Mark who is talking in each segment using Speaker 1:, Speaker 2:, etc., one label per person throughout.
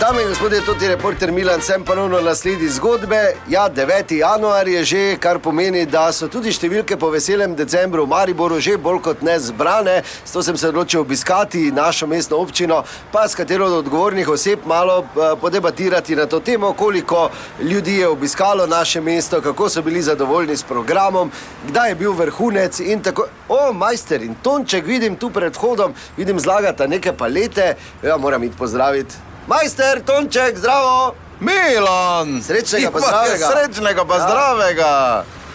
Speaker 1: Dame in gospodje, tudi reporter Milan sem ponovno na sledi zgodbe. Ja, 9. januar je že, kar pomeni, da so tudi številke po veselem decembru v Mariboru že bolj kot ne zbrane. Zato sem se odločil obiskati našo mestno občino, pa s katero od odgovornih oseb malo eh, podebatirati na to temo, koliko ljudi je obiskalo naše mesto, kako so bili zadovoljni s programom, kdaj je bil vrhunec in tako. O, majster in Tonček, vidim tu pred vhodom, vidim zlagata neke palete, ja, moram jih pozdraviti. Majster, Tonček, zdravo!
Speaker 2: Milan!
Speaker 1: Srečnega pa
Speaker 2: Iva,
Speaker 1: zdravega.
Speaker 2: Srečnega pa
Speaker 1: Ja.
Speaker 2: zdravega!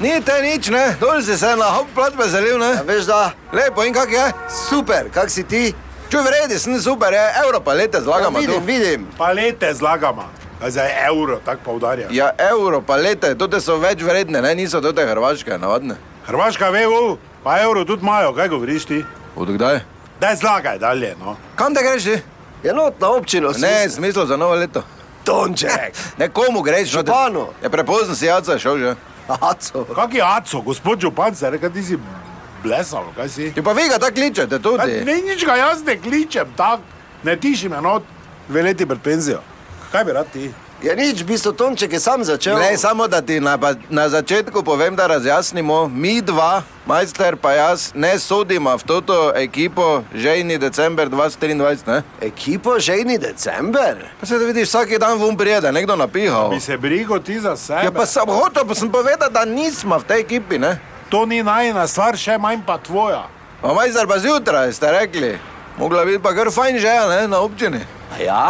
Speaker 2: Ni te nič, ne? Dol si se na hop plat veselil,
Speaker 1: A Ja,
Speaker 2: ne?
Speaker 1: veš, da
Speaker 2: Lepo in kak je?
Speaker 1: super, kak si ti? Ja,
Speaker 2: Čuj, v redu, sem super, je. evro pa lete zlagamo.
Speaker 1: vidim,
Speaker 2: tu.
Speaker 1: vidim.
Speaker 3: Palete zlagama, A zdaj evro, tako poudarja.
Speaker 2: Ja, evro pa lete, to te so več vredne, ne? Niso to te hrvaške, navadne.
Speaker 3: Hrvaška ve, u, pa evro tudi imajo, kaj govoriš ti?
Speaker 2: Od kdaj?
Speaker 3: Daj zlagaj dalje, no.
Speaker 2: Kam te greš ti?
Speaker 1: Enotna občina,
Speaker 2: Ne, smisel za novo leto.
Speaker 1: Tonček,
Speaker 2: Nekomu greš, no te-
Speaker 1: Županu.
Speaker 2: Ja, prepozno si jaca šel že.
Speaker 1: aco.
Speaker 3: Kak je aco, gospod župan, se reka, ti si blesal, kaj si?
Speaker 2: Ti pa vi ga tako kličete
Speaker 3: Ja,
Speaker 2: tudi.
Speaker 3: Ne, nič ga jaz ne kličem, tak, ne tiši me not, dve leti pred penzijo. Kaj bi rad ti?
Speaker 1: Ja, nič, v bistvu Tonček je sam začel.
Speaker 2: Ne, samo da ti na, pa- na začetku povem, da razjasnimo, mi dva, majster pa jaz, ne sodimo v to ekipo žejni december 2023. Ne?
Speaker 1: Ekipo žejni december.
Speaker 2: Pa se da vidiš, vsak dan vum prijede, nekdo napihal.
Speaker 3: Bi se brigo ti za sebe.
Speaker 2: Ja, pa sem hotel, pa sem povedal, da nismo v tej ekipi. Ne?
Speaker 3: To ni najna stvar, še manj pa tvoja.
Speaker 2: A majster pa zjutraj ste rekli, mogla biti pa kar fajn že ne? na občini.
Speaker 1: A ja?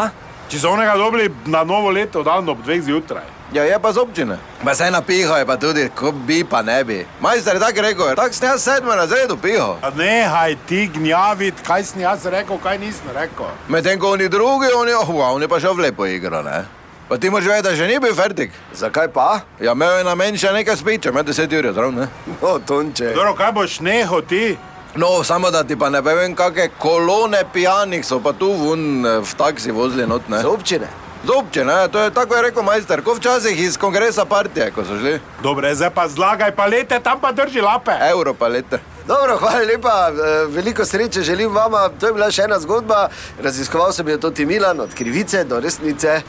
Speaker 3: Če so onega dobili na novo leto, dan ob dveh zjutraj.
Speaker 2: Ja, je pa z občine. Pa se napihal je pa tudi, ko bi pa ne bi. Majster je tako rekel, tako sem jaz sedmo razredu pihal.
Speaker 3: A Nehaj ti gnjaviti, kaj sem jaz rekel, kaj nisem rekel.
Speaker 2: Medtem ko oni drugi, oni, oh, wow, oni pa še v lepo igro, ne? Pa ti moraš vedeti, da še ni bil fertik.
Speaker 1: Zakaj pa?
Speaker 2: Ja, imel je namen še nekaj spiče, med 10 ur zrav, ne?
Speaker 1: No, Tonček.
Speaker 3: Dobro, kaj boš nehal ti?
Speaker 2: No, samo da ti pa ne povem, kakšne kolone pijanih so pa tu vun eh, v taksi vozili not, ne?
Speaker 1: Z občine.
Speaker 2: Zobče, ne? To je tako je rekel majster, ko včasih iz kongresa partije, ko so šli.
Speaker 3: Dobre, zdaj pa zlagaj palete, tam pa drži lape.
Speaker 2: Euro pa lete.
Speaker 1: Dobro, hvala lepa, eh, veliko sreče želim vama. To je bila še ena zgodba, raziskoval sem jo tudi Milan, od krivice do resnice.